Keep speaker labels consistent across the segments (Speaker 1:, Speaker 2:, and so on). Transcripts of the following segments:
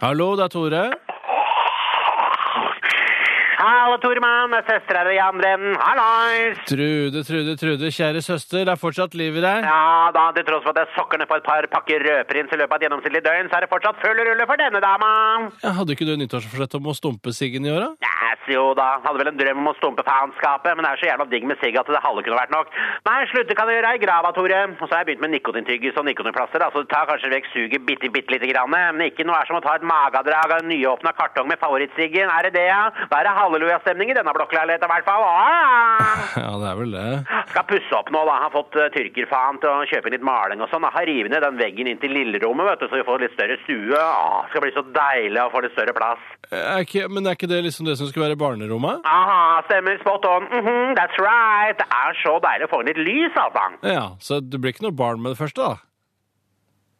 Speaker 1: Hallo, det er Tore.
Speaker 2: Hallo, Toremann. Det er søstera di, Andren. Hallois!
Speaker 1: Trude, Trude, Trude, kjære søster. Det er fortsatt liv i deg.
Speaker 2: Ja da, til tross for at jeg sokker ned på et par pakker rødprins i løpet av et gjennomsnittlig døgn, så er det fortsatt full rulle for denne dama.
Speaker 1: Ja, Hadde ikke du nyttårsforsett om å stumpe Siggen i åra?
Speaker 2: Yes, jo da. Hadde vel en drøm om å stumpe faenskapet, men det er så jævla digg med sigg at det halve kunne vært nok. Nei, slutte kan du gjøre i grava, Tore. Og så har jeg begynt med nikotintyggis og nikotinplaster, da, så det tar kanskje vekk suget bitte, bitte lite grann. Men ikke noe er som å ta et magedrag av en nyåpna kartong med favorittsiggen. Er det det, ja? Da er det hallelujastemning i denne blokkleiligheten i hvert fall. Ah!
Speaker 1: Ja, det er vel det.
Speaker 2: Skal pusse opp nå, da. Har fått eh, tyrkerfaen til å kjøpe inn litt maling og sånn. da. Har revet ned den veggen inn til lillerommet, vet du, så vi får litt større stue. Åh, det skal bli så deilig å få litt større plass.
Speaker 1: Er ikke, men er ikke det liksom det som skulle være barnerommet?
Speaker 2: Aha, stemmer. Spot on. Mhm, that's right. Det er så deilig å få inn litt lys, altså.
Speaker 1: Ja, så det blir ikke noe barn med det første, da?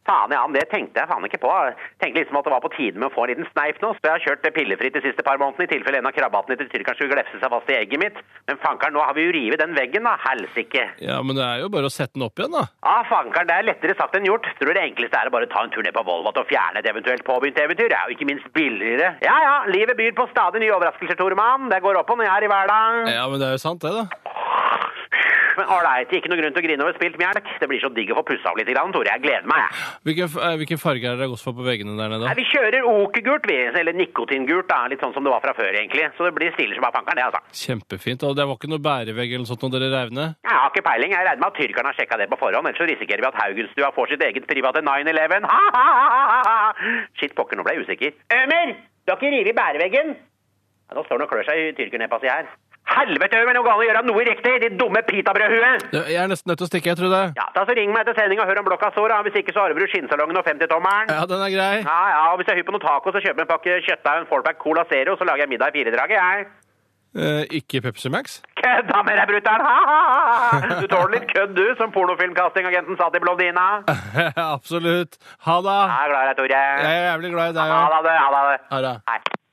Speaker 2: Faen, ja, men det tenkte jeg faen ikke på. Jeg tenkte liksom at det var på tide med å få en liten sneip nå, så jeg har kjørt det pillefritt de siste par månedene i tilfelle en av krabbatene til tyrkeren skulle glefse seg fast i egget mitt. Men fankeren, nå har vi jo rivet den veggen, da. Helsike.
Speaker 1: Ja, men det er jo bare å sette den opp igjen, da.
Speaker 2: Ah, fankeren, det er lettere sagt enn gjort. Tror det enkleste er å bare ta en tur ned på Volvat og fjerne et eventuelt påbegynt eventyr. Det er jo ikke minst billigere. Ja ja, livet byr på stadig nye overraskelser, Toremann. Det går opp og ned her i hverdagen.
Speaker 1: Ja, men det er jo sant, det, da.
Speaker 2: Men ålreit, ikke noe grunn til å grine over spilt melk. Det blir så digg å få pussa opp litt, grann, Tore. Jeg gleder meg. jeg.
Speaker 1: Hvilken, f- eh, hvilken farge er det dere har gått for på veggene der nede?
Speaker 2: Nei,
Speaker 1: da?
Speaker 2: vi kjører okergult, vi. Eller nikotingult, da. Litt sånn som det var fra før, egentlig. Så det blir stille som bare fankeren, det, altså.
Speaker 1: Kjempefint. Og det var ikke noe bærevegg eller noe sånt når dere reiv ned?
Speaker 2: Jeg har ikke peiling. Jeg regner med at tyrkerne har sjekka det på forhånd. Ellers så risikerer vi at Haugenstua får sitt eget private 9-11. Ha, ha, ha, ha, ha. Shit, pokker, nå ble jeg usikker. Ømer! Du har ikke revet bæreveggen? Ja, nå står han og klør seg i tyrkernepassi her. Helvete, Ømer! Nå går det an å gjøre noe riktig, ditt dumme pitabrødhue!
Speaker 1: Ja, Jeg er nesten nødt til å stikke, jeg, Trude.
Speaker 2: Ja, da så Ring meg etter sending og hør om blokka står, da. hvis ikke så arver du skinnsalongen og 50-tommeren.
Speaker 1: Ja, den er grei.
Speaker 2: Ja, ja, og hvis jeg er hypp på noen taco, så kjøper jeg en pakke kjøttdeig og en fourpack Cola Zero, så lager jeg middag i firedraget, jeg.
Speaker 1: Eh, ikke Pepsi Max?
Speaker 2: Kødda med deg, brutter'n! Ha, ha, ha. Du tåler litt kødd, du, som pornofilmkastingagenten sa til Blondina.
Speaker 1: Absolutt. Ha det.
Speaker 2: Jeg er glad i deg, Tore.
Speaker 1: Jeg er jævlig glad i deg
Speaker 2: Ha
Speaker 1: òg.
Speaker 2: det, ha det.
Speaker 1: Ha det.
Speaker 2: Hei.